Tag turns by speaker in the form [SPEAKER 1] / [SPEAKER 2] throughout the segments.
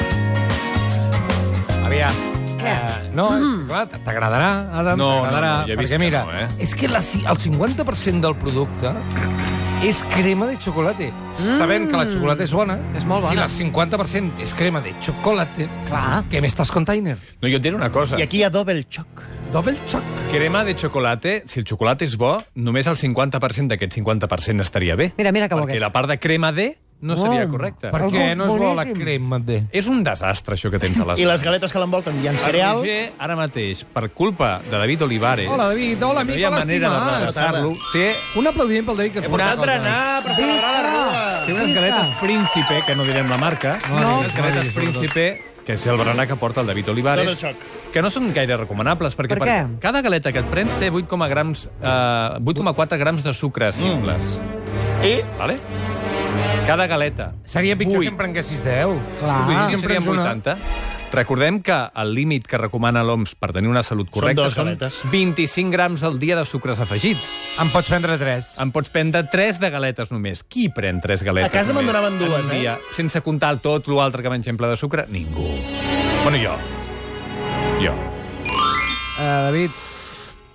[SPEAKER 1] Eh, No, és que, clar, t'agradarà, Adam,
[SPEAKER 2] No, no,
[SPEAKER 1] t'agradarà.
[SPEAKER 2] no, ja he vist
[SPEAKER 1] perquè,
[SPEAKER 2] que
[SPEAKER 1] mira,
[SPEAKER 2] no, eh?
[SPEAKER 1] és que la, ci- el 50% del producte és crema de xocolate. Mm. Sabent que la xocolata és bona,
[SPEAKER 3] És molt
[SPEAKER 1] si
[SPEAKER 3] bona.
[SPEAKER 1] la 50% és crema de xocolate,
[SPEAKER 3] Clar.
[SPEAKER 1] què més t'has container?
[SPEAKER 2] No, jo et diré una cosa.
[SPEAKER 4] I aquí hi ha double choc.
[SPEAKER 1] Double choc.
[SPEAKER 2] Crema de xocolata, si el xocolata és bo, només el 50% d'aquest 50% estaria bé.
[SPEAKER 3] Mira, mira que bo que
[SPEAKER 2] Perquè
[SPEAKER 3] és.
[SPEAKER 2] la part de crema de no
[SPEAKER 3] Oh.
[SPEAKER 2] seria correcta.
[SPEAKER 1] Per què no és bo la
[SPEAKER 3] boníssim.
[SPEAKER 1] crema de...
[SPEAKER 2] És un desastre, això que tens a les
[SPEAKER 4] I les galetes que l'envolten hi ha
[SPEAKER 2] El
[SPEAKER 4] cereal.
[SPEAKER 2] Roger, ara mateix, per culpa de David Olivares...
[SPEAKER 1] Hola, David. Hola,
[SPEAKER 2] que
[SPEAKER 1] amic.
[SPEAKER 2] No hi ha
[SPEAKER 1] Hola,
[SPEAKER 2] manera
[SPEAKER 1] estimat.
[SPEAKER 2] d'adreçar-lo. Té
[SPEAKER 1] Un aplaudiment pel David que ens
[SPEAKER 4] Portat
[SPEAKER 1] porta-
[SPEAKER 4] berenar per celebrar la
[SPEAKER 2] Té
[SPEAKER 4] rua.
[SPEAKER 2] unes galetes Príncipe, que no direm la marca,
[SPEAKER 1] No, no,
[SPEAKER 2] unes galetes Príncipe, que és el berenar que porta el David
[SPEAKER 4] Tot el
[SPEAKER 2] Olivares,
[SPEAKER 4] xoc.
[SPEAKER 2] que no són gaire recomanables, perquè
[SPEAKER 3] Per què?
[SPEAKER 2] per cada galeta que et prens té 8,4 grams, eh, 8,4 grams de
[SPEAKER 1] Mm.
[SPEAKER 2] sucre simples.
[SPEAKER 4] I
[SPEAKER 2] Vale? Cada galeta.
[SPEAKER 1] Seria pitjor
[SPEAKER 2] Vuit.
[SPEAKER 1] si en prenguessis 10.
[SPEAKER 3] Clar.
[SPEAKER 1] Si
[SPEAKER 2] Ah,
[SPEAKER 1] en
[SPEAKER 2] serien
[SPEAKER 1] prens una-
[SPEAKER 2] 80. Recordem que el límit que recomana l'OMS per tenir una salut correcta
[SPEAKER 4] dues galetes.
[SPEAKER 2] 25 grams al dia de sucres afegits.
[SPEAKER 1] En pots prendre 3.
[SPEAKER 2] En pots prendre 3 de galetes només. Qui pren 3 galetes
[SPEAKER 4] A casa me'n
[SPEAKER 2] només
[SPEAKER 4] donaven
[SPEAKER 2] en un
[SPEAKER 4] dues, eh?
[SPEAKER 2] dia? Sense comptar el tot l'altre que mengem ple de sucre? Ningú. Bueno, jo. Jo.
[SPEAKER 1] Uh, David,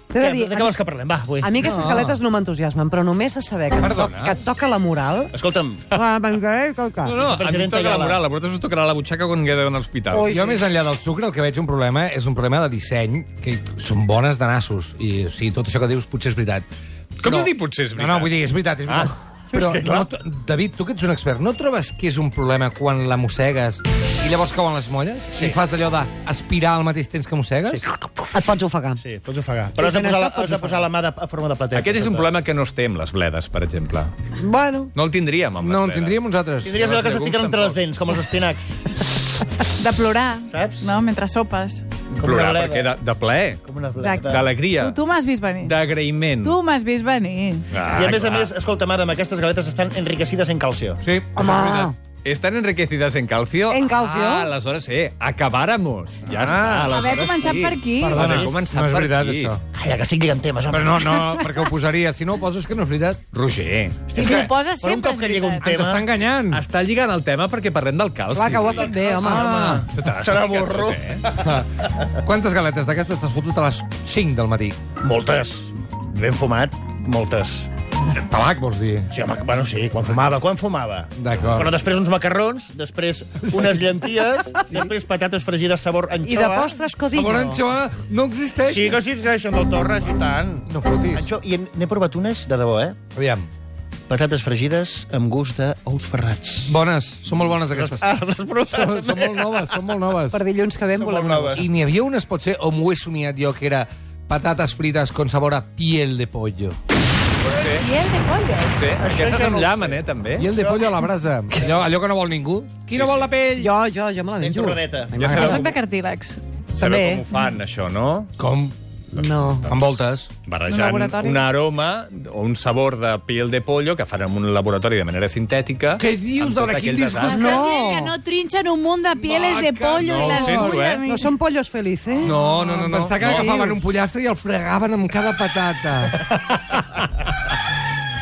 [SPEAKER 3] T'he
[SPEAKER 4] què,
[SPEAKER 3] de dir,
[SPEAKER 4] de
[SPEAKER 3] a
[SPEAKER 4] què
[SPEAKER 3] mi,
[SPEAKER 4] vols que parlem? Va, avui.
[SPEAKER 3] a mi aquestes galetes no m'entusiasmen, però només de saber que, em to
[SPEAKER 1] Perdona.
[SPEAKER 3] que et toca la moral...
[SPEAKER 4] Escolta'm,
[SPEAKER 3] La mangaré i toca.
[SPEAKER 2] No, no, a mi em
[SPEAKER 4] presidenta
[SPEAKER 2] toca la
[SPEAKER 4] Gala.
[SPEAKER 2] moral. A vosaltres us tocarà la butxaca quan quedeu a l'hospital.
[SPEAKER 3] Ui.
[SPEAKER 1] jo més enllà del sucre el que veig un problema és un problema de disseny, que són bones de nassos, i o sigui, tot això que dius potser és veritat.
[SPEAKER 2] Com ho dir potser és
[SPEAKER 1] No,
[SPEAKER 2] veritat?
[SPEAKER 1] no, vull dir, és veritat, és veritat.
[SPEAKER 2] Ah.
[SPEAKER 1] Però,
[SPEAKER 2] És que clar.
[SPEAKER 1] no, t- David, tu que ets un expert, no trobes que és un problema quan la mossegues i llavors cauen les molles? Sí. I fas allò d'aspirar al mateix temps que mossegues? Sí.
[SPEAKER 3] Et pots ofegar.
[SPEAKER 4] sí, pots ofegar. Però has de
[SPEAKER 3] Fent
[SPEAKER 4] posar,
[SPEAKER 3] això
[SPEAKER 4] la,
[SPEAKER 3] pots
[SPEAKER 4] has de posar la mà de, a forma de plateta.
[SPEAKER 2] Aquest és un problema que no es té amb les bledes, per exemple.
[SPEAKER 3] Bueno,
[SPEAKER 2] No el tindríem amb les
[SPEAKER 1] No, en
[SPEAKER 2] bledes.
[SPEAKER 1] tindríem uns altres.
[SPEAKER 4] Tindries allò que se
[SPEAKER 2] Llegums
[SPEAKER 4] fiquen entre les
[SPEAKER 2] tampoc.
[SPEAKER 4] dents, com els espinacs.
[SPEAKER 5] De plorar,
[SPEAKER 4] Saps?
[SPEAKER 5] no? Mentre sopes.
[SPEAKER 2] Plorar,
[SPEAKER 4] bleda.
[SPEAKER 2] perquè de, de plaer,
[SPEAKER 4] Com una
[SPEAKER 5] Exacte.
[SPEAKER 4] plata.
[SPEAKER 2] d'alegria,
[SPEAKER 5] Tu, tu m'has vist venir.
[SPEAKER 2] d'agraïment.
[SPEAKER 5] Tu m'has vist venir.
[SPEAKER 2] Ah,
[SPEAKER 4] I a més a
[SPEAKER 2] clar.
[SPEAKER 4] més, escolta'm, Adam, aquestes galetes estan enriquecides en calcio.
[SPEAKER 1] Sí.
[SPEAKER 3] home...
[SPEAKER 2] Estan enriquecidas en calcio.
[SPEAKER 3] En calcio.
[SPEAKER 2] Ah, aleshores, eh, acabáramos. Ja
[SPEAKER 3] Ah,
[SPEAKER 2] està.
[SPEAKER 5] Haver
[SPEAKER 2] aleshores
[SPEAKER 5] començat
[SPEAKER 2] sí.
[SPEAKER 5] per aquí.
[SPEAKER 2] Perdona,
[SPEAKER 1] Perdona,
[SPEAKER 2] haver començat
[SPEAKER 1] no és
[SPEAKER 2] per
[SPEAKER 1] veritat,
[SPEAKER 2] aquí.
[SPEAKER 1] això.
[SPEAKER 4] Calla, que estic lligant temes, home.
[SPEAKER 1] Però no, no, perquè ho posaria. Si no ho poses, que no és veritat.
[SPEAKER 2] Roger,
[SPEAKER 5] Si ho poses
[SPEAKER 4] Per un
[SPEAKER 5] sempre
[SPEAKER 4] cop
[SPEAKER 5] és
[SPEAKER 4] que lliga un
[SPEAKER 5] veritat.
[SPEAKER 1] Ens està
[SPEAKER 4] tema...
[SPEAKER 1] enganyant.
[SPEAKER 2] està lligant el tema perquè parlem del calci.
[SPEAKER 3] Clar, que ho ha fet bé, home.
[SPEAKER 1] Ah,
[SPEAKER 2] T'has
[SPEAKER 4] Serà
[SPEAKER 2] explicat
[SPEAKER 4] burro.
[SPEAKER 2] tot, eh?
[SPEAKER 1] Quantes galetes d'aquestes t'has fotut a les 5 del matí?
[SPEAKER 4] Moltes. Ben fumat, moltes.
[SPEAKER 1] Tabac, vols dir?
[SPEAKER 4] Sí, home, bueno, sí, quan fumava, quan fumava.
[SPEAKER 1] D'acord.
[SPEAKER 4] Però després uns macarrons, després unes llenties, sí. després patates fregides sabor anxoa.
[SPEAKER 3] I de postres codillo.
[SPEAKER 1] Segona anxoana no existeix.
[SPEAKER 4] Sí que sí, creixen del Torres, i tant.
[SPEAKER 1] No fotis.
[SPEAKER 4] Anxo, i en- n'he provat unes, de debò, eh?
[SPEAKER 1] Aviam.
[SPEAKER 4] Patates fregides amb gust d'ous ferrats.
[SPEAKER 1] Bones. Són molt bones, aquestes.
[SPEAKER 4] Ah, les has provat?
[SPEAKER 1] Són, són molt noves, són molt noves.
[SPEAKER 3] Per dilluns que ve en
[SPEAKER 4] Són
[SPEAKER 3] volem
[SPEAKER 4] molt
[SPEAKER 3] una
[SPEAKER 4] noves.
[SPEAKER 1] I n'hi havia unes, potser, o m'ho he somiat jo, que era patates frites con sabor a piel de pollo.
[SPEAKER 5] Piel de pollo.
[SPEAKER 2] Sí,
[SPEAKER 4] ja
[SPEAKER 2] aquestes
[SPEAKER 4] no
[SPEAKER 2] amb
[SPEAKER 4] ho
[SPEAKER 2] llamen, eh, també.
[SPEAKER 1] Piel de pollo a la brasa. Allò, allò que no vol ningú. Qui no vol la pell?
[SPEAKER 3] Jo, jo, jo me la
[SPEAKER 4] Ben
[SPEAKER 3] menjo.
[SPEAKER 4] torradeta.
[SPEAKER 3] Ai,
[SPEAKER 2] Ja
[SPEAKER 3] m'agrada.
[SPEAKER 2] sabeu-
[SPEAKER 5] Jo soc de cartílegs.
[SPEAKER 2] Sabeu
[SPEAKER 3] també.
[SPEAKER 2] com ho fan, això, no?
[SPEAKER 1] Com?
[SPEAKER 3] No.
[SPEAKER 1] Amb voltes.
[SPEAKER 5] Un
[SPEAKER 2] Barrejant
[SPEAKER 5] laboratori.
[SPEAKER 2] un aroma o un sabor de piel de pollo que fan en un laboratori de manera sintètica.
[SPEAKER 1] Què dius,
[SPEAKER 2] amb tot
[SPEAKER 1] dona?
[SPEAKER 2] aquell
[SPEAKER 1] Quin disgust.
[SPEAKER 2] desastre.
[SPEAKER 3] No.
[SPEAKER 5] Estàs dient que no trinxen un munt de pieles de pollo
[SPEAKER 2] no,
[SPEAKER 5] i
[SPEAKER 2] ho
[SPEAKER 5] les
[SPEAKER 2] sento, eh?
[SPEAKER 3] No són pollos felices?
[SPEAKER 2] No, no, no. no.
[SPEAKER 1] Pensar que
[SPEAKER 2] no.
[SPEAKER 1] agafaven un pollastre i el fregaven amb cada patata.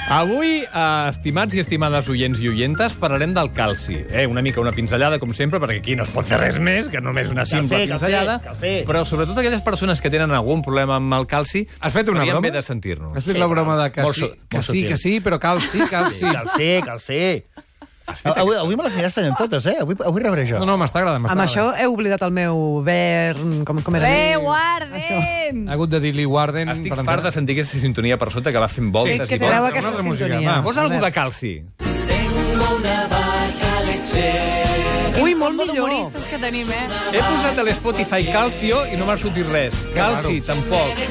[SPEAKER 2] Avui, eh, estimats i estimades oients i oientes, parlarem del calci. Eh, una mica una pinzellada, com sempre, perquè aquí no es pot fer res més que només una
[SPEAKER 4] Calci,
[SPEAKER 2] simple
[SPEAKER 4] calci,
[SPEAKER 2] pinzellada.
[SPEAKER 4] calci.
[SPEAKER 2] Però sobretot aquelles persones que tenen algun problema amb el calci...
[SPEAKER 1] Has fet una
[SPEAKER 2] farien
[SPEAKER 1] broma?
[SPEAKER 2] bé de sentir-nos.
[SPEAKER 1] Has fet la broma de que
[SPEAKER 4] Molt
[SPEAKER 1] sí,
[SPEAKER 4] su-
[SPEAKER 1] que
[SPEAKER 4] molt
[SPEAKER 1] sí, que
[SPEAKER 4] sutil.
[SPEAKER 1] sí, però cal sí, cal sí.
[SPEAKER 4] Cal ser, cal ser. Avui, avui me les aniràs tenint totes, eh? Avui, avui rebré jo.
[SPEAKER 1] No, no, m'està agradant, m'està
[SPEAKER 3] Amb
[SPEAKER 1] agradant.
[SPEAKER 3] això he oblidat el meu vern, com, com era?
[SPEAKER 5] Eh,
[SPEAKER 3] amic.
[SPEAKER 5] guarden!
[SPEAKER 1] Ha hagut de dir-li Warden...
[SPEAKER 2] Estic
[SPEAKER 1] per
[SPEAKER 2] fart
[SPEAKER 1] entrar.
[SPEAKER 2] de sentir aquesta sintonia per sota que va fent voltes
[SPEAKER 3] Sí, que
[SPEAKER 2] i
[SPEAKER 3] treu
[SPEAKER 2] voltes.
[SPEAKER 3] aquesta
[SPEAKER 1] Una altra música,
[SPEAKER 3] sintonia.
[SPEAKER 1] va.
[SPEAKER 2] Posa algú
[SPEAKER 3] A
[SPEAKER 2] de
[SPEAKER 3] veure.
[SPEAKER 2] calci.
[SPEAKER 3] Ui, molt
[SPEAKER 5] Molt
[SPEAKER 3] millor.
[SPEAKER 5] humoristes que tenim, eh?
[SPEAKER 2] He posat a l'Spotify Calcio i no m'ha sortit res. Calci, tampoc.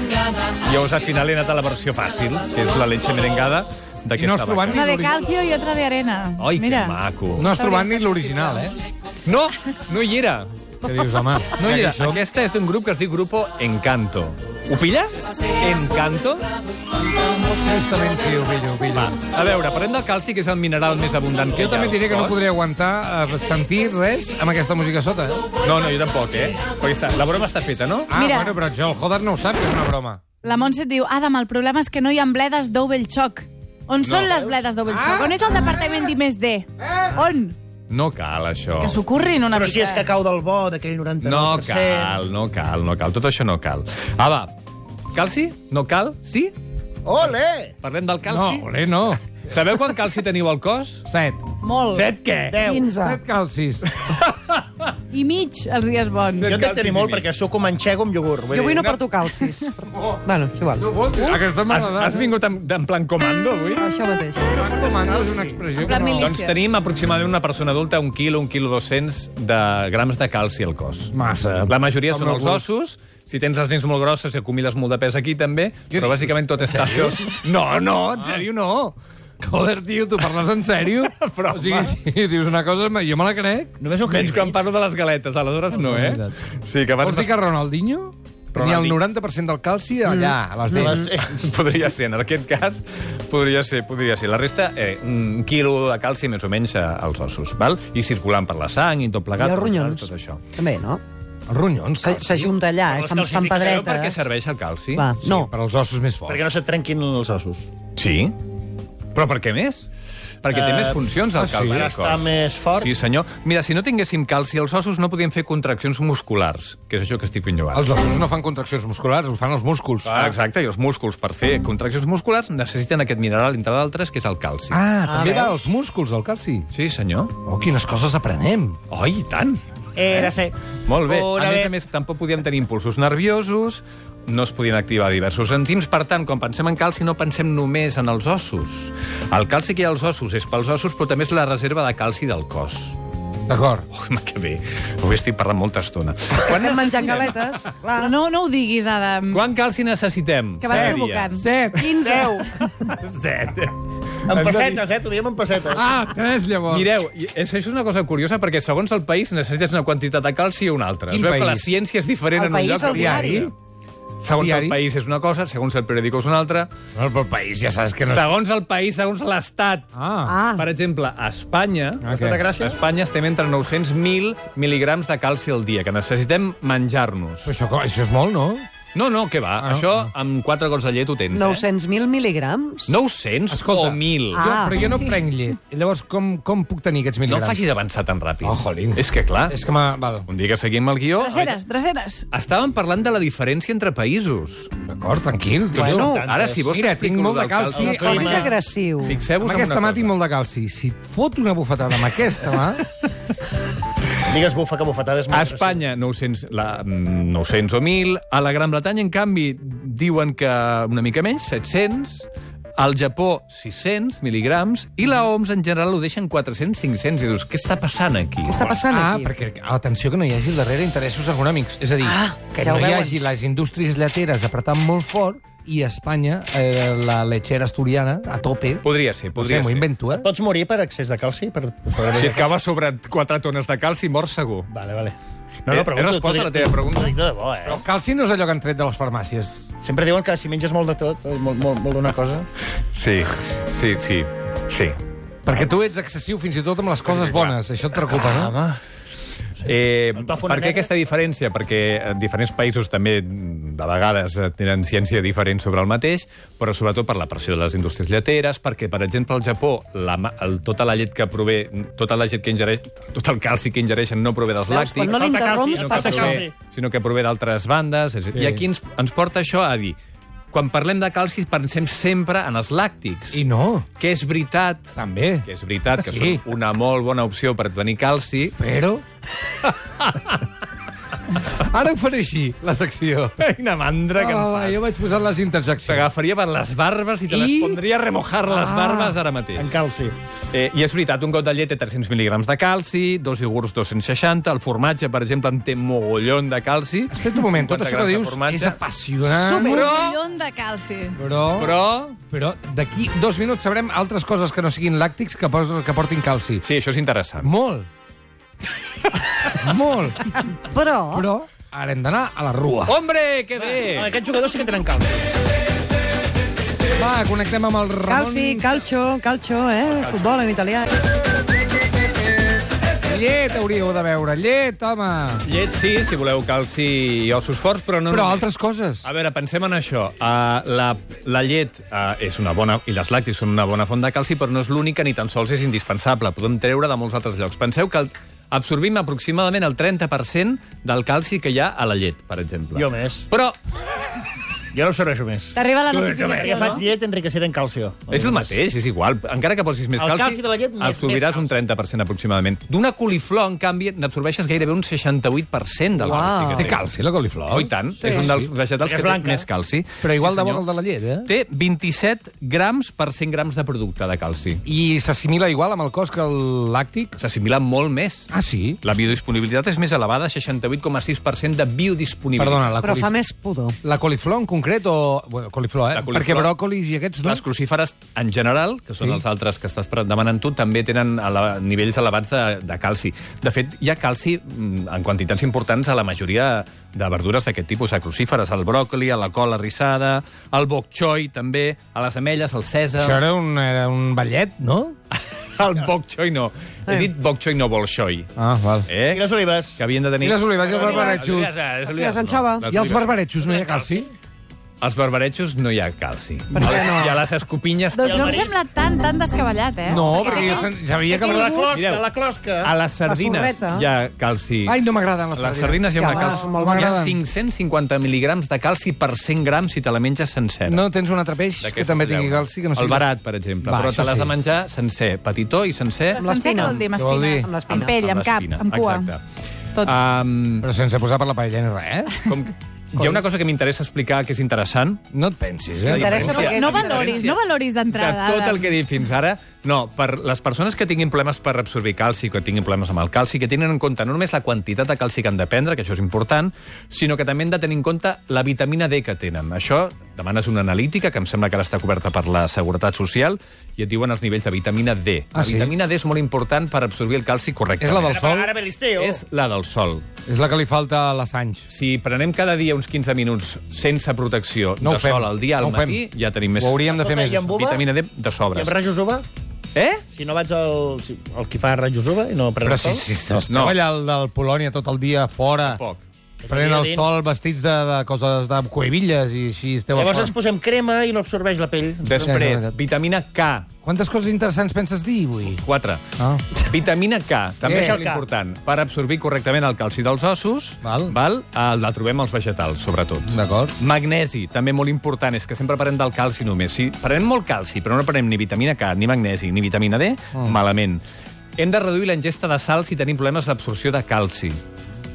[SPEAKER 2] Llavors, al final he anat a la versió fàcil, que és la leche merengada
[SPEAKER 1] I no
[SPEAKER 2] d'aquesta
[SPEAKER 1] has trobat
[SPEAKER 2] vaca.
[SPEAKER 5] Una de calcio i otra de arena.
[SPEAKER 2] Ai, que
[SPEAKER 5] Mira.
[SPEAKER 2] maco.
[SPEAKER 1] No has trobat ni l'original, eh?
[SPEAKER 2] No, no hi era.
[SPEAKER 1] Què dius, home?
[SPEAKER 2] No hi era. Aquesta és d'un grup que es diu Grupo Encanto. Ho pilles? Encanto?
[SPEAKER 1] Justament sí, ho pillo, ho pillo.
[SPEAKER 2] A veure, parlem del calci, que és el mineral més abundant que
[SPEAKER 1] Jo també
[SPEAKER 2] al
[SPEAKER 1] diré que no
[SPEAKER 2] cos.
[SPEAKER 1] podré aguantar eh, sentir res amb aquesta música a sota. eh?
[SPEAKER 2] No, no, jo tampoc, eh? Perquè està, la broma està feta, no?
[SPEAKER 1] Ah,
[SPEAKER 5] Mira.
[SPEAKER 1] bueno, però això el Joder no ho sap, que és una broma.
[SPEAKER 5] La Montse et diu, Adam, el problema és que no hi ha bledes double choc. On són les bledes double choc? On és el departament d'IMSD? On?
[SPEAKER 2] No cal, això.
[SPEAKER 5] Que s'ho currin una
[SPEAKER 4] Però
[SPEAKER 5] mica.
[SPEAKER 4] si és cacau del bo, d'aquell 99%.
[SPEAKER 2] No cal, no cal, no cal. Tot això no cal. Ah, va. Calci? No cal? Sí?
[SPEAKER 4] Ole!
[SPEAKER 2] Parlem del
[SPEAKER 1] No,
[SPEAKER 2] calci?
[SPEAKER 1] olé, no.
[SPEAKER 2] Sabeu quant calci teniu al cos?
[SPEAKER 1] Set.
[SPEAKER 5] Molt.
[SPEAKER 2] Set què?
[SPEAKER 4] 10.
[SPEAKER 3] 15.
[SPEAKER 1] Set calcis.
[SPEAKER 5] I mig els dies bons.
[SPEAKER 4] Jo en
[SPEAKER 2] Calcis
[SPEAKER 4] dec tenir molt
[SPEAKER 2] i mig.
[SPEAKER 4] perquè sóc com manxego amb iogurt. Vull
[SPEAKER 3] Jo avui
[SPEAKER 4] dir,
[SPEAKER 3] no porto calcis. bueno, és igual.
[SPEAKER 1] No vols? Aquesta m'ha
[SPEAKER 2] Has,
[SPEAKER 1] agradat.
[SPEAKER 2] has vingut en, en plan comando, avui?
[SPEAKER 3] Això mateix.
[SPEAKER 1] Quan comando és una
[SPEAKER 5] En
[SPEAKER 1] expressió que
[SPEAKER 5] plan
[SPEAKER 1] no...
[SPEAKER 5] mili-
[SPEAKER 2] Doncs tenim aproximadament una persona adulta un quilo, un quilo 200 de grams de calci al cos.
[SPEAKER 1] Massa.
[SPEAKER 2] La majoria
[SPEAKER 1] Com
[SPEAKER 2] són els
[SPEAKER 1] alguns.
[SPEAKER 2] ossos, si tens les dents molt grosses i acumules molt de pes aquí també, però bàsicament tot és calci. No,
[SPEAKER 1] "Oh,
[SPEAKER 2] no,
[SPEAKER 1] Ah.
[SPEAKER 2] en sèrio no.
[SPEAKER 1] Joder, tio, tu parles en sèrio?
[SPEAKER 2] Però,
[SPEAKER 1] o sigui, si dius una cosa, me- jo me la crec.
[SPEAKER 4] Només ho crec.
[SPEAKER 2] Menys quan parlo de les galetes, aleshores no, eh? Sí, que abans...
[SPEAKER 1] Vols dir que Ronaldinho tenia el
[SPEAKER 2] Ronaldinho. Mm.
[SPEAKER 1] 90% del calci allà, a les dents?
[SPEAKER 2] Podria ser, en aquest cas, podria ser, podria ser. La resta, eh, un quilo de calci més o menys eh, als ossos, val? I circulant per la sang i tot plegat.
[SPEAKER 3] I
[SPEAKER 2] tot
[SPEAKER 3] els
[SPEAKER 2] plegat,
[SPEAKER 3] ronyons.
[SPEAKER 2] Tot això.
[SPEAKER 3] També, no?
[SPEAKER 1] Els ronyons,
[SPEAKER 3] Se-
[SPEAKER 1] calci.
[SPEAKER 3] S'ajunta allà,
[SPEAKER 4] Però
[SPEAKER 3] eh? fan,
[SPEAKER 4] les
[SPEAKER 3] fan
[SPEAKER 4] calcificació,
[SPEAKER 2] Sabeu
[SPEAKER 3] pedretes.
[SPEAKER 2] per què serveix el calci?
[SPEAKER 3] Va,
[SPEAKER 1] Sí,
[SPEAKER 3] no.
[SPEAKER 1] per als ossos més forts.
[SPEAKER 4] Perquè no se't trenquin els ossos.
[SPEAKER 2] Sí. Però per què més? Perquè té
[SPEAKER 4] Eh,
[SPEAKER 2] més funcions el calci.
[SPEAKER 4] Per
[SPEAKER 2] al
[SPEAKER 4] estar
[SPEAKER 2] cos.
[SPEAKER 4] més fort.
[SPEAKER 2] Sí, senyor. Mira, si no tinguéssim calci als ossos no podíem fer contraccions musculars, que és això que estic fent jo ara.
[SPEAKER 1] Els ossos no fan contraccions musculars, ho fan els músculs.
[SPEAKER 2] Ah, exacte, i els músculs, per fer contraccions musculars, necessiten aquest mineral, entre d'altres, que és el calci.
[SPEAKER 1] Ah, també
[SPEAKER 3] veus?
[SPEAKER 1] va als músculs, el calci.
[SPEAKER 2] Sí, senyor.
[SPEAKER 1] Oh, quines coses aprenem.
[SPEAKER 2] Oi, i tant!
[SPEAKER 4] Era ser.
[SPEAKER 2] Molt bé.
[SPEAKER 4] Una
[SPEAKER 2] a més
[SPEAKER 4] vez.
[SPEAKER 2] a més, tampoc podíem tenir impulsos nerviosos, no es podien activar diversos enzims. Per tant, quan pensem en calci, no pensem només en els ossos. El calci que hi ha als ossos és pels ossos, però també és la reserva de calci del cos.
[SPEAKER 1] D'acord.
[SPEAKER 2] Home, que bé. Avui estic parlant molta estona.
[SPEAKER 3] Quan estem menjant galetes, clar.
[SPEAKER 5] Però no, no ho diguis, Adam.
[SPEAKER 2] Quant calci necessitem?
[SPEAKER 5] Que vas
[SPEAKER 2] Sèrie.
[SPEAKER 5] provocant.
[SPEAKER 3] 15.
[SPEAKER 2] Set.
[SPEAKER 4] En pessetes, eh? T'ho diem en pessetes.
[SPEAKER 1] Ah, tres, llavors.
[SPEAKER 2] Mireu, i- és, això és una cosa curiosa, perquè segons el país necessites una quantitat de calci i una altra.
[SPEAKER 1] Quin
[SPEAKER 2] es veu que
[SPEAKER 1] país?
[SPEAKER 2] la ciència és diferent
[SPEAKER 3] El
[SPEAKER 2] en un
[SPEAKER 3] país,
[SPEAKER 2] lloc
[SPEAKER 3] el
[SPEAKER 2] que
[SPEAKER 3] diari?
[SPEAKER 2] l'altre. Segons
[SPEAKER 1] diari?
[SPEAKER 2] el país és una cosa, segons el periòdic és una altra.
[SPEAKER 1] No, però el país, ja saps que no...
[SPEAKER 2] Segons el país, segons l'estat.
[SPEAKER 1] Ah.
[SPEAKER 3] Ah,
[SPEAKER 2] Per exemple, a Espanya...
[SPEAKER 1] Ah,
[SPEAKER 4] Estat de
[SPEAKER 1] què?
[SPEAKER 2] A
[SPEAKER 4] Gràcia?
[SPEAKER 2] Espanya estem entre 900.000 mil·ligrams de calci al dia, que necessitem menjar-nos.
[SPEAKER 1] Però això, com- això és molt, no?
[SPEAKER 2] No, no, què va?
[SPEAKER 1] Ah, no?
[SPEAKER 2] Això amb quatre gots de llet ho tens, eh?
[SPEAKER 3] 900.000 mil·ligrams?
[SPEAKER 2] 900
[SPEAKER 1] Escolta.
[SPEAKER 2] o 1.000?
[SPEAKER 1] Jo,
[SPEAKER 3] Ah.
[SPEAKER 1] però jo no prenc llet. Llavors, com, com puc tenir aquests
[SPEAKER 2] No em
[SPEAKER 1] mil·ligrams?
[SPEAKER 2] facis avançar tan ràpid.
[SPEAKER 1] Oh, jolín.
[SPEAKER 2] És que, clar,
[SPEAKER 1] És que m'ha... Val.
[SPEAKER 2] un dia que seguim el guió...
[SPEAKER 5] Dreceres, dreceres.
[SPEAKER 2] Estàvem parlant de la diferència entre països.
[SPEAKER 1] D'acord, tranquil. tio.
[SPEAKER 2] Bueno,
[SPEAKER 4] tantes.
[SPEAKER 2] ara, si vols,
[SPEAKER 1] Mira,
[SPEAKER 2] t'explico
[SPEAKER 1] eh? tinc
[SPEAKER 2] lo
[SPEAKER 1] molt de
[SPEAKER 2] del
[SPEAKER 1] calci. Sí,
[SPEAKER 2] calci.
[SPEAKER 3] No
[SPEAKER 4] home.
[SPEAKER 3] Doncs és agressiu.
[SPEAKER 1] Amb
[SPEAKER 2] Fixeu-vos en
[SPEAKER 1] aquesta
[SPEAKER 2] una
[SPEAKER 1] mà tinc
[SPEAKER 2] cosa.
[SPEAKER 1] molt de calci. Si et fot una bufetada amb aquesta mà...
[SPEAKER 4] Digues bufa, que bufetades.
[SPEAKER 2] A Espanya, 900, la, mm, 900 o 1.000. A la Gran Bretanya, en canvi, diuen que una mica menys, 700. Al Japó, 600 mil·ligrams. I la OMS, en general, ho deixen 400, 500. I dius, què està passant aquí?
[SPEAKER 3] Què està passant
[SPEAKER 1] Ah,
[SPEAKER 3] aquí?
[SPEAKER 1] perquè, atenció, que no hi hagi al darrere interessos econòmics. És a dir,
[SPEAKER 3] Ah,
[SPEAKER 1] que
[SPEAKER 3] ja ho
[SPEAKER 1] no hi
[SPEAKER 3] veuen.
[SPEAKER 1] hagi les indústries lleteres apretant molt fort i a Espanya eh, la lechera asturiana a tope.
[SPEAKER 2] Podria ser, podria
[SPEAKER 1] no sé, m'ho
[SPEAKER 2] ser.
[SPEAKER 1] invento, eh?
[SPEAKER 4] Pots morir per excés de calci? Per...
[SPEAKER 2] Si et cava sobre 4 tones de calci, mors segur.
[SPEAKER 4] Vale, vale.
[SPEAKER 2] Eh, he respost a la teva pregunta?
[SPEAKER 4] T'ho dic de debò, eh?
[SPEAKER 1] Però el calci no és allò que han tret de les farmàcies.
[SPEAKER 4] Sempre diuen que si menges molt de tot, eh, molt, molt, molt d'una cosa...
[SPEAKER 2] Sí, sí, sí. sí.
[SPEAKER 1] Perquè tu ets excessiu fins i tot amb les coses bones. Això et preocupa, no?
[SPEAKER 2] Eh,
[SPEAKER 4] El plafon
[SPEAKER 2] per què
[SPEAKER 4] negre?
[SPEAKER 2] aquesta diferència? Perquè en diferents països també mm, de vegades eh, tenen ciència diferent sobre el mateix, però sobretot per la pressió de les indústries lleteres, perquè, per exemple, al Japó la, ma- el, tota la llet que prové, tota la llet que ingereix, tot el calci que ingereixen no prové dels
[SPEAKER 3] Veus, quan
[SPEAKER 2] làctics,
[SPEAKER 3] no
[SPEAKER 4] Falta calci,
[SPEAKER 3] l'interromps
[SPEAKER 4] no
[SPEAKER 2] que
[SPEAKER 3] passa
[SPEAKER 4] cal
[SPEAKER 3] això.
[SPEAKER 4] calci.
[SPEAKER 2] prové, sinó que prové d'altres bandes. Sí. I aquí ens, ens porta això a dir, quan parlem de calci pensem sempre en els làctics,
[SPEAKER 1] I no,
[SPEAKER 2] que és veritat
[SPEAKER 1] també.
[SPEAKER 2] que és veritat que
[SPEAKER 1] Sí.
[SPEAKER 2] són una molt bona opció per tenir calci,
[SPEAKER 1] Però... Ara ho faré així, la secció.
[SPEAKER 2] Quina mandra que em
[SPEAKER 1] Oh,
[SPEAKER 2] fas.
[SPEAKER 1] jo vaig posant les interseccions.
[SPEAKER 2] T'agafaria per les barbes i te les
[SPEAKER 1] I? Ah.
[SPEAKER 2] pondria a remojar les barbes ara
[SPEAKER 4] En
[SPEAKER 2] mateix.
[SPEAKER 4] calci.
[SPEAKER 2] Eh, I és veritat, un got de llet té 300 mil·lígrams de calci, dos iogurts 260, el formatge, per exemple, en té mogollon de calci.
[SPEAKER 1] Espera un moment, tot
[SPEAKER 2] 50
[SPEAKER 1] això que
[SPEAKER 2] grams de
[SPEAKER 1] dius
[SPEAKER 2] formatge.
[SPEAKER 1] és apassionant.
[SPEAKER 5] Un
[SPEAKER 2] Però-
[SPEAKER 5] milion de calci.
[SPEAKER 1] Però...
[SPEAKER 2] Però...
[SPEAKER 1] Però d'aquí dos minuts sabrem altres coses que no siguin làctics que, pos, que portin calci.
[SPEAKER 2] Sí, això és interessant.
[SPEAKER 1] Molt. Molt.
[SPEAKER 3] Però...
[SPEAKER 1] Però ara hem d'anar a la rua.
[SPEAKER 2] Hombre, que
[SPEAKER 4] Eh.
[SPEAKER 2] bé!
[SPEAKER 4] Aquests jugadors sí que tenen calci.
[SPEAKER 1] Va, connectem amb el Ramon...
[SPEAKER 3] Calci, calcio, calcio, eh? Futbol en italià.
[SPEAKER 1] Llet hauríeu de veure, llet, home.
[SPEAKER 2] Llet sí, si voleu calci i ossos forts, però no...
[SPEAKER 1] Però
[SPEAKER 2] només.
[SPEAKER 1] altres coses.
[SPEAKER 2] A veure, pensem en això. Uh, la, la llet uh, és una bona... i les lactis són una bona font de calci, però no és l'única ni tan sols és indispensable. Podem treure de molts altres llocs. Penseu que el, absorbim aproximadament el 30% del calci que hi ha a la llet, per exemple.
[SPEAKER 4] Jo més.
[SPEAKER 2] Però
[SPEAKER 4] Jo no serveixo més.
[SPEAKER 5] T'arriba la
[SPEAKER 4] Ja
[SPEAKER 5] notificació,
[SPEAKER 4] faig
[SPEAKER 5] no?
[SPEAKER 4] llet enriquecida en calcio.
[SPEAKER 2] és el mateix, és igual. Encara que posis més
[SPEAKER 4] El
[SPEAKER 2] calci,
[SPEAKER 4] calci de la llet, més-
[SPEAKER 2] absorbiràs
[SPEAKER 4] més
[SPEAKER 2] un 30% aproximadament. D'una coliflor, en canvi, n'absorbeixes gairebé un 68% del calci que
[SPEAKER 1] Té calci, la coliflor?
[SPEAKER 2] Oh, i tant. Sí. És un dels
[SPEAKER 4] Perquè
[SPEAKER 2] vegetals que
[SPEAKER 4] és
[SPEAKER 2] té
[SPEAKER 4] blanca.
[SPEAKER 2] més calci.
[SPEAKER 1] Però igual de bo
[SPEAKER 2] senyor.
[SPEAKER 1] que el de la llet, eh?
[SPEAKER 2] Té 27 grams per 100 grams de producte de calci.
[SPEAKER 1] I s'assimila igual amb el cos que el làctic?
[SPEAKER 2] S'assimila molt més.
[SPEAKER 1] Ah, sí?
[SPEAKER 2] La biodisponibilitat és més elevada, 68,6% de biodisponibilitat.
[SPEAKER 1] Perdona, la,
[SPEAKER 3] Però
[SPEAKER 1] colif
[SPEAKER 3] fa més pudor.
[SPEAKER 1] la coliflor en concret o... Bueno, coliflor, eh?
[SPEAKER 2] La coliflor-
[SPEAKER 1] Perquè bròcolis i aquests, no?
[SPEAKER 2] Les crucíferes, en general, que són
[SPEAKER 1] Sí.
[SPEAKER 2] sí. els altres que estàs demanant tu, també tenen ele nivells elevats de, de calci. De fet, hi ha calci mm, en quantitats importants a la majoria de verdures d'aquest tipus, a crucíferes, al bròcoli, a la col arrissada, al bok choy, també, a les ametlles, al sèsam...
[SPEAKER 1] Això era un, era un ballet, no?
[SPEAKER 2] El bok choy no.
[SPEAKER 1] Eh.
[SPEAKER 2] He dit bok choy, no bolxoi.
[SPEAKER 1] Ah, val.
[SPEAKER 2] Eh?
[SPEAKER 4] I les olives?
[SPEAKER 2] Que havien de tenir...
[SPEAKER 1] I les olives i els
[SPEAKER 2] Les olives,
[SPEAKER 1] barbaretxos?
[SPEAKER 2] les
[SPEAKER 3] Sí, les
[SPEAKER 2] olives,
[SPEAKER 3] anxova.
[SPEAKER 2] no. Les
[SPEAKER 1] I els
[SPEAKER 2] olives.
[SPEAKER 1] barbaretxos no hi ha calci?
[SPEAKER 2] Als barbaretxos no hi ha calci.
[SPEAKER 3] Per què no?
[SPEAKER 2] I a les escopinyes...
[SPEAKER 5] Doncs no em
[SPEAKER 4] marisc.
[SPEAKER 5] sembla tan, tan descabellat, eh?
[SPEAKER 1] No, perquè jo sen- sabia que...
[SPEAKER 4] La
[SPEAKER 1] La...
[SPEAKER 4] closca,
[SPEAKER 2] Mireu.
[SPEAKER 4] la closca.
[SPEAKER 2] A les sardines
[SPEAKER 3] sorreta.
[SPEAKER 2] hi ha calci.
[SPEAKER 1] Ai, no m'agraden
[SPEAKER 2] les
[SPEAKER 1] les sardines.
[SPEAKER 2] sardines, hi ha
[SPEAKER 3] Sí,
[SPEAKER 2] una
[SPEAKER 3] home,
[SPEAKER 2] calci.
[SPEAKER 3] molt
[SPEAKER 2] Hi ha
[SPEAKER 1] m'agraden.
[SPEAKER 2] 550 mil·ligrams de calci per 100 grams si te la menges sencera.
[SPEAKER 1] No tens un altre peix que
[SPEAKER 2] D'aquestes
[SPEAKER 1] també
[SPEAKER 2] deu.
[SPEAKER 1] tingui calci? Que no
[SPEAKER 2] El
[SPEAKER 1] sigui-
[SPEAKER 2] barat, per exemple.
[SPEAKER 1] Va,
[SPEAKER 2] però
[SPEAKER 1] això
[SPEAKER 2] te l'has
[SPEAKER 1] sí.
[SPEAKER 2] de menjar sencer, petitó i sencer.
[SPEAKER 5] Però sencer què vol dir, amb
[SPEAKER 1] Què vol dir?
[SPEAKER 5] espines?
[SPEAKER 1] Amb
[SPEAKER 3] l'espina.
[SPEAKER 5] Amb pell, amb, cap,
[SPEAKER 2] l'espina.
[SPEAKER 5] amb cua.
[SPEAKER 2] Exacte.
[SPEAKER 5] Tot.
[SPEAKER 2] Um,
[SPEAKER 1] Però sense posar per la paella ni res, eh?
[SPEAKER 2] com... Hi ha una cosa que m'interessa explicar que és interessant,
[SPEAKER 1] No et pensis, eh?
[SPEAKER 3] M'interessa
[SPEAKER 2] diferència-
[SPEAKER 3] perquè-
[SPEAKER 5] No
[SPEAKER 2] la
[SPEAKER 5] valoris,
[SPEAKER 2] diferència
[SPEAKER 5] no valoris d'entrada.
[SPEAKER 2] De tot
[SPEAKER 5] Adam.
[SPEAKER 2] el que he dit fins ara, no, per les persones que tinguin problemes per absorbir calci, que tinguin problemes amb el calci, que tenen en compte no només la quantitat de calci que han de prendre, que això és important, sinó que també han de tenir en compte la vitamina D que tenen. Això demanes una analítica, que em sembla que ara està coberta per la Seguretat Social, i et diuen els nivells de vitamina D.
[SPEAKER 1] Ah,
[SPEAKER 2] la
[SPEAKER 1] sí?
[SPEAKER 2] vitamina D és molt important per absorbir el calci
[SPEAKER 1] És la
[SPEAKER 2] correctament.
[SPEAKER 1] del sol?
[SPEAKER 4] Ara ve l'estiu.
[SPEAKER 2] És la del sol.
[SPEAKER 1] És la que li falta a l'Assange.
[SPEAKER 2] Si prenem cada dia uns 15 minuts sense protecció
[SPEAKER 1] No ho
[SPEAKER 2] de
[SPEAKER 1] fem.
[SPEAKER 2] sol al dia, al
[SPEAKER 1] no ho fem.
[SPEAKER 2] matí, ja tenim més
[SPEAKER 1] Ho hauríem de fer
[SPEAKER 4] Escolta,
[SPEAKER 1] més.
[SPEAKER 4] i amb uva?
[SPEAKER 2] vitamina D de
[SPEAKER 4] I
[SPEAKER 2] sobres.
[SPEAKER 4] amb rajos uva?
[SPEAKER 2] Eh?
[SPEAKER 4] Si no vaig al... Si, el qui fa rajos uva i no pren
[SPEAKER 1] Però
[SPEAKER 4] el
[SPEAKER 1] si,
[SPEAKER 4] sol?
[SPEAKER 1] si estàs
[SPEAKER 2] No.
[SPEAKER 1] no. treballant del Polònia tot el dia fora,
[SPEAKER 2] Poc.
[SPEAKER 1] prenent
[SPEAKER 4] Dia
[SPEAKER 1] el
[SPEAKER 4] dins.
[SPEAKER 1] sol vestits de, de coses de cuevilles i així esteu
[SPEAKER 4] Llavors
[SPEAKER 1] a
[SPEAKER 4] ens
[SPEAKER 1] fora.
[SPEAKER 4] posem crema i no absorbeix la pell.
[SPEAKER 2] Després,
[SPEAKER 1] Sí, sí, sí.
[SPEAKER 2] vitamina K.
[SPEAKER 1] Quantes coses interessants penses dir avui?
[SPEAKER 2] 4.
[SPEAKER 1] Ah.
[SPEAKER 2] Vitamina K, també
[SPEAKER 1] Eh.
[SPEAKER 2] és molt important, per absorbir correctament el calci dels ossos,
[SPEAKER 1] Val.
[SPEAKER 2] Val? Eh, la trobem als vegetals, sobretot.
[SPEAKER 1] D'acord.
[SPEAKER 2] Magnesi, també molt important, és que sempre prenem del calci només. Si prenem molt calci, però no prenem ni vitamina K, ni magnesi, ni vitamina D, mm. malament. Hem de reduir la ingesta de sal si tenim problemes d'absorció de calci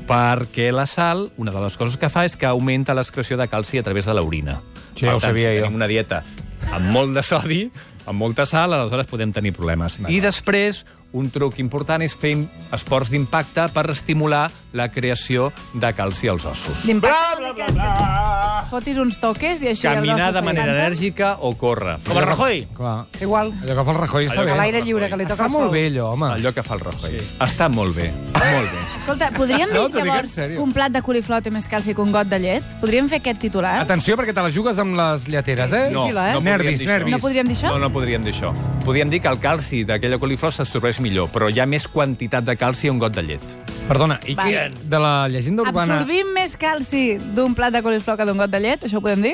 [SPEAKER 2] perquè la sal, una de les coses que fa és que augmenta l'excreció de calci a través de l'orina.
[SPEAKER 1] Sí, ja ho
[SPEAKER 2] Per tant,
[SPEAKER 1] sabia
[SPEAKER 2] si
[SPEAKER 1] jo.
[SPEAKER 2] tenim una dieta amb molt de sodi, amb molta sal, aleshores podem tenir problemes. I després, un truc important és fer esports d'impacte per estimular la creació de calci als ossos.
[SPEAKER 5] D'impacte vol dir que Fotis uns toques i així... el
[SPEAKER 2] Caminar
[SPEAKER 5] braç
[SPEAKER 2] de
[SPEAKER 5] se
[SPEAKER 2] manera
[SPEAKER 5] s'enganxa.
[SPEAKER 2] enèrgica o córrer.
[SPEAKER 4] Com a Rajoy.
[SPEAKER 1] Clar.
[SPEAKER 3] Igual,
[SPEAKER 1] Allò que fa el Rajoy està bé.
[SPEAKER 2] Allò que
[SPEAKER 3] a
[SPEAKER 2] fa
[SPEAKER 3] l'aire lliure, que li toca
[SPEAKER 1] Està
[SPEAKER 3] el sol.
[SPEAKER 1] molt bé, allò, home.
[SPEAKER 2] Allò que fa el Rajoy. Sí. Està molt bé, molt bé.
[SPEAKER 5] Escolta, podríem dir
[SPEAKER 1] No, t'ho dic en
[SPEAKER 5] llavors
[SPEAKER 1] sèrio.
[SPEAKER 5] que un plat de coliflor té més calci que un got de llet? Podríem fer aquest titular?
[SPEAKER 1] Eh? Atenció, perquè te la jugues amb les lleteres, eh?
[SPEAKER 3] No, Vigila, eh?
[SPEAKER 2] podríem
[SPEAKER 1] Nervis,
[SPEAKER 2] dir això.
[SPEAKER 1] nervis.
[SPEAKER 5] No podríem dir això?
[SPEAKER 2] No, no podríem dir això. Podríem dir que el calci d'aquella coliflor s'absorbeix millor, però hi ha més quantitat de calci a un got de llet.
[SPEAKER 1] Perdona, i
[SPEAKER 5] Va.
[SPEAKER 1] què? De la llegenda urbana...
[SPEAKER 5] Absorbim més calci d'un plat de coliflor que d'un got de llet? Això ho podem dir?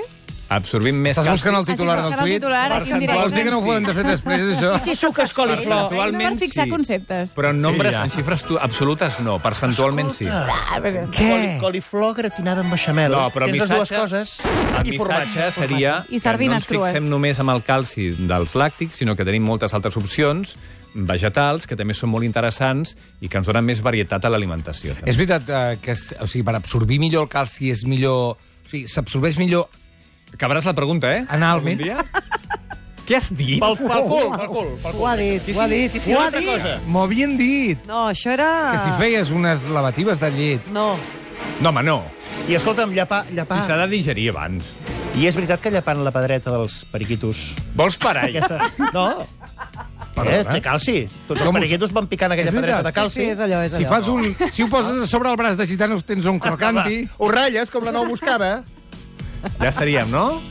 [SPEAKER 2] Absorbim més
[SPEAKER 1] Estàs buscant el
[SPEAKER 5] Estic
[SPEAKER 1] titular del
[SPEAKER 5] buscant el
[SPEAKER 1] tuit?
[SPEAKER 5] titular, aquí
[SPEAKER 1] Vols dir
[SPEAKER 5] en directe.
[SPEAKER 1] que no ho podem de fer després, això?
[SPEAKER 4] I si suques coliflor?
[SPEAKER 5] Percentual.
[SPEAKER 2] Percentualment,
[SPEAKER 5] Per fixar conceptes.
[SPEAKER 2] Però en
[SPEAKER 1] Sí,
[SPEAKER 2] nombres,
[SPEAKER 1] ja.
[SPEAKER 2] en xifres tu, absolutes, no. Percentualment, sí.
[SPEAKER 4] Coli- Coliflor gratinada amb beixamel.
[SPEAKER 2] No, però el
[SPEAKER 4] Tens les dues
[SPEAKER 2] missatge-
[SPEAKER 4] coses
[SPEAKER 2] El
[SPEAKER 4] i
[SPEAKER 2] missatge
[SPEAKER 4] formatge.
[SPEAKER 2] seria
[SPEAKER 5] I
[SPEAKER 2] que no
[SPEAKER 5] sardines
[SPEAKER 2] ens fixem
[SPEAKER 5] crues.
[SPEAKER 2] només amb el calci dels làctics, sinó que tenim moltes altres opcions vegetals, que també són molt interessants i que ens donen més varietat a l'alimentació. també.
[SPEAKER 1] És veritat eh, que s- o sigui, per absorbir millor el calci és millor... O sigui, s'absorbeix millor
[SPEAKER 2] Acabaràs la pregunta, eh?
[SPEAKER 1] Analment.
[SPEAKER 2] Algun dia? Què has dit?
[SPEAKER 4] Pel, pel cul, pel cul. Pel
[SPEAKER 3] Ho ha dit, ho ha dit.
[SPEAKER 4] cul. Una altra cosa.
[SPEAKER 1] M'ho havien dit,
[SPEAKER 3] No, això era...
[SPEAKER 1] que si feies unes lavatives de llet...
[SPEAKER 3] Ah. No.
[SPEAKER 2] No, home, no.
[SPEAKER 4] I escolta'm, llapar...
[SPEAKER 2] Si s'ha
[SPEAKER 4] llapar.
[SPEAKER 2] de digerir abans.
[SPEAKER 4] I és veritat que llepant la pedreta dels periquitos...
[SPEAKER 2] Vols parar? ja?
[SPEAKER 4] Aquesta... No? Eh, té calci. Tots els
[SPEAKER 1] Com us-
[SPEAKER 4] periquitos van picant aquella
[SPEAKER 1] És veritat,
[SPEAKER 4] pedreta de
[SPEAKER 1] sí,
[SPEAKER 4] calci.
[SPEAKER 3] Sí, és allò, és allò.
[SPEAKER 1] Si, fas un, si ho poses a sobre el braç de Ah, gitanos tens un crocanti...
[SPEAKER 4] Va, Ho ratlles, com la nou buscava.
[SPEAKER 2] Ja estaríem, no?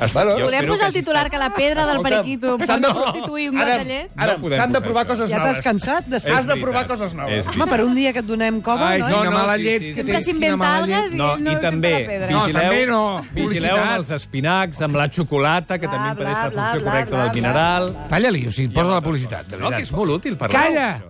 [SPEAKER 2] Es-
[SPEAKER 6] Bueno.
[SPEAKER 2] jo
[SPEAKER 5] Podem
[SPEAKER 2] espero
[SPEAKER 5] posar el
[SPEAKER 2] hagi
[SPEAKER 5] titular
[SPEAKER 2] estat-
[SPEAKER 5] que la pedra del
[SPEAKER 6] Escolta'm,
[SPEAKER 5] periquito pot
[SPEAKER 6] Sandra,
[SPEAKER 5] substituir un got
[SPEAKER 6] ara-
[SPEAKER 5] de llet?
[SPEAKER 6] Ara,
[SPEAKER 2] No podem
[SPEAKER 6] s'han de
[SPEAKER 2] posar
[SPEAKER 6] provar
[SPEAKER 2] això.
[SPEAKER 6] coses
[SPEAKER 3] Ja t'has
[SPEAKER 6] noves.
[SPEAKER 3] cansat?
[SPEAKER 2] És
[SPEAKER 3] Després?
[SPEAKER 6] Has de
[SPEAKER 2] veritat,
[SPEAKER 6] provar coses noves.
[SPEAKER 2] és
[SPEAKER 3] Home,
[SPEAKER 2] veritat.
[SPEAKER 3] per un dia que et donem cova,
[SPEAKER 1] Eh, Ai,
[SPEAKER 3] no?
[SPEAKER 1] no,
[SPEAKER 2] no,
[SPEAKER 1] no, mala
[SPEAKER 2] sí,
[SPEAKER 1] llet.
[SPEAKER 2] sí,
[SPEAKER 1] que
[SPEAKER 2] sí.
[SPEAKER 5] Sempre
[SPEAKER 1] tens,
[SPEAKER 5] s'inventa
[SPEAKER 1] quina mala llet.
[SPEAKER 5] algues i
[SPEAKER 2] No,
[SPEAKER 5] no,
[SPEAKER 2] i
[SPEAKER 5] surten
[SPEAKER 2] també
[SPEAKER 5] de la pedra.
[SPEAKER 1] No,
[SPEAKER 2] vigileu,
[SPEAKER 1] també no.
[SPEAKER 2] vigileu
[SPEAKER 1] Publicitat.
[SPEAKER 2] els espinacs amb la xocolata, que
[SPEAKER 3] Bla,
[SPEAKER 2] també impedeix
[SPEAKER 3] bla,
[SPEAKER 2] la
[SPEAKER 3] bla,
[SPEAKER 2] funció
[SPEAKER 3] bla,
[SPEAKER 2] correcta
[SPEAKER 3] bla,
[SPEAKER 2] del
[SPEAKER 3] bla,
[SPEAKER 2] mineral.
[SPEAKER 1] Talla-li, o sigui, posa la publicitat. De
[SPEAKER 2] No, que és
[SPEAKER 1] veritat.
[SPEAKER 2] molt útil per
[SPEAKER 1] Calla!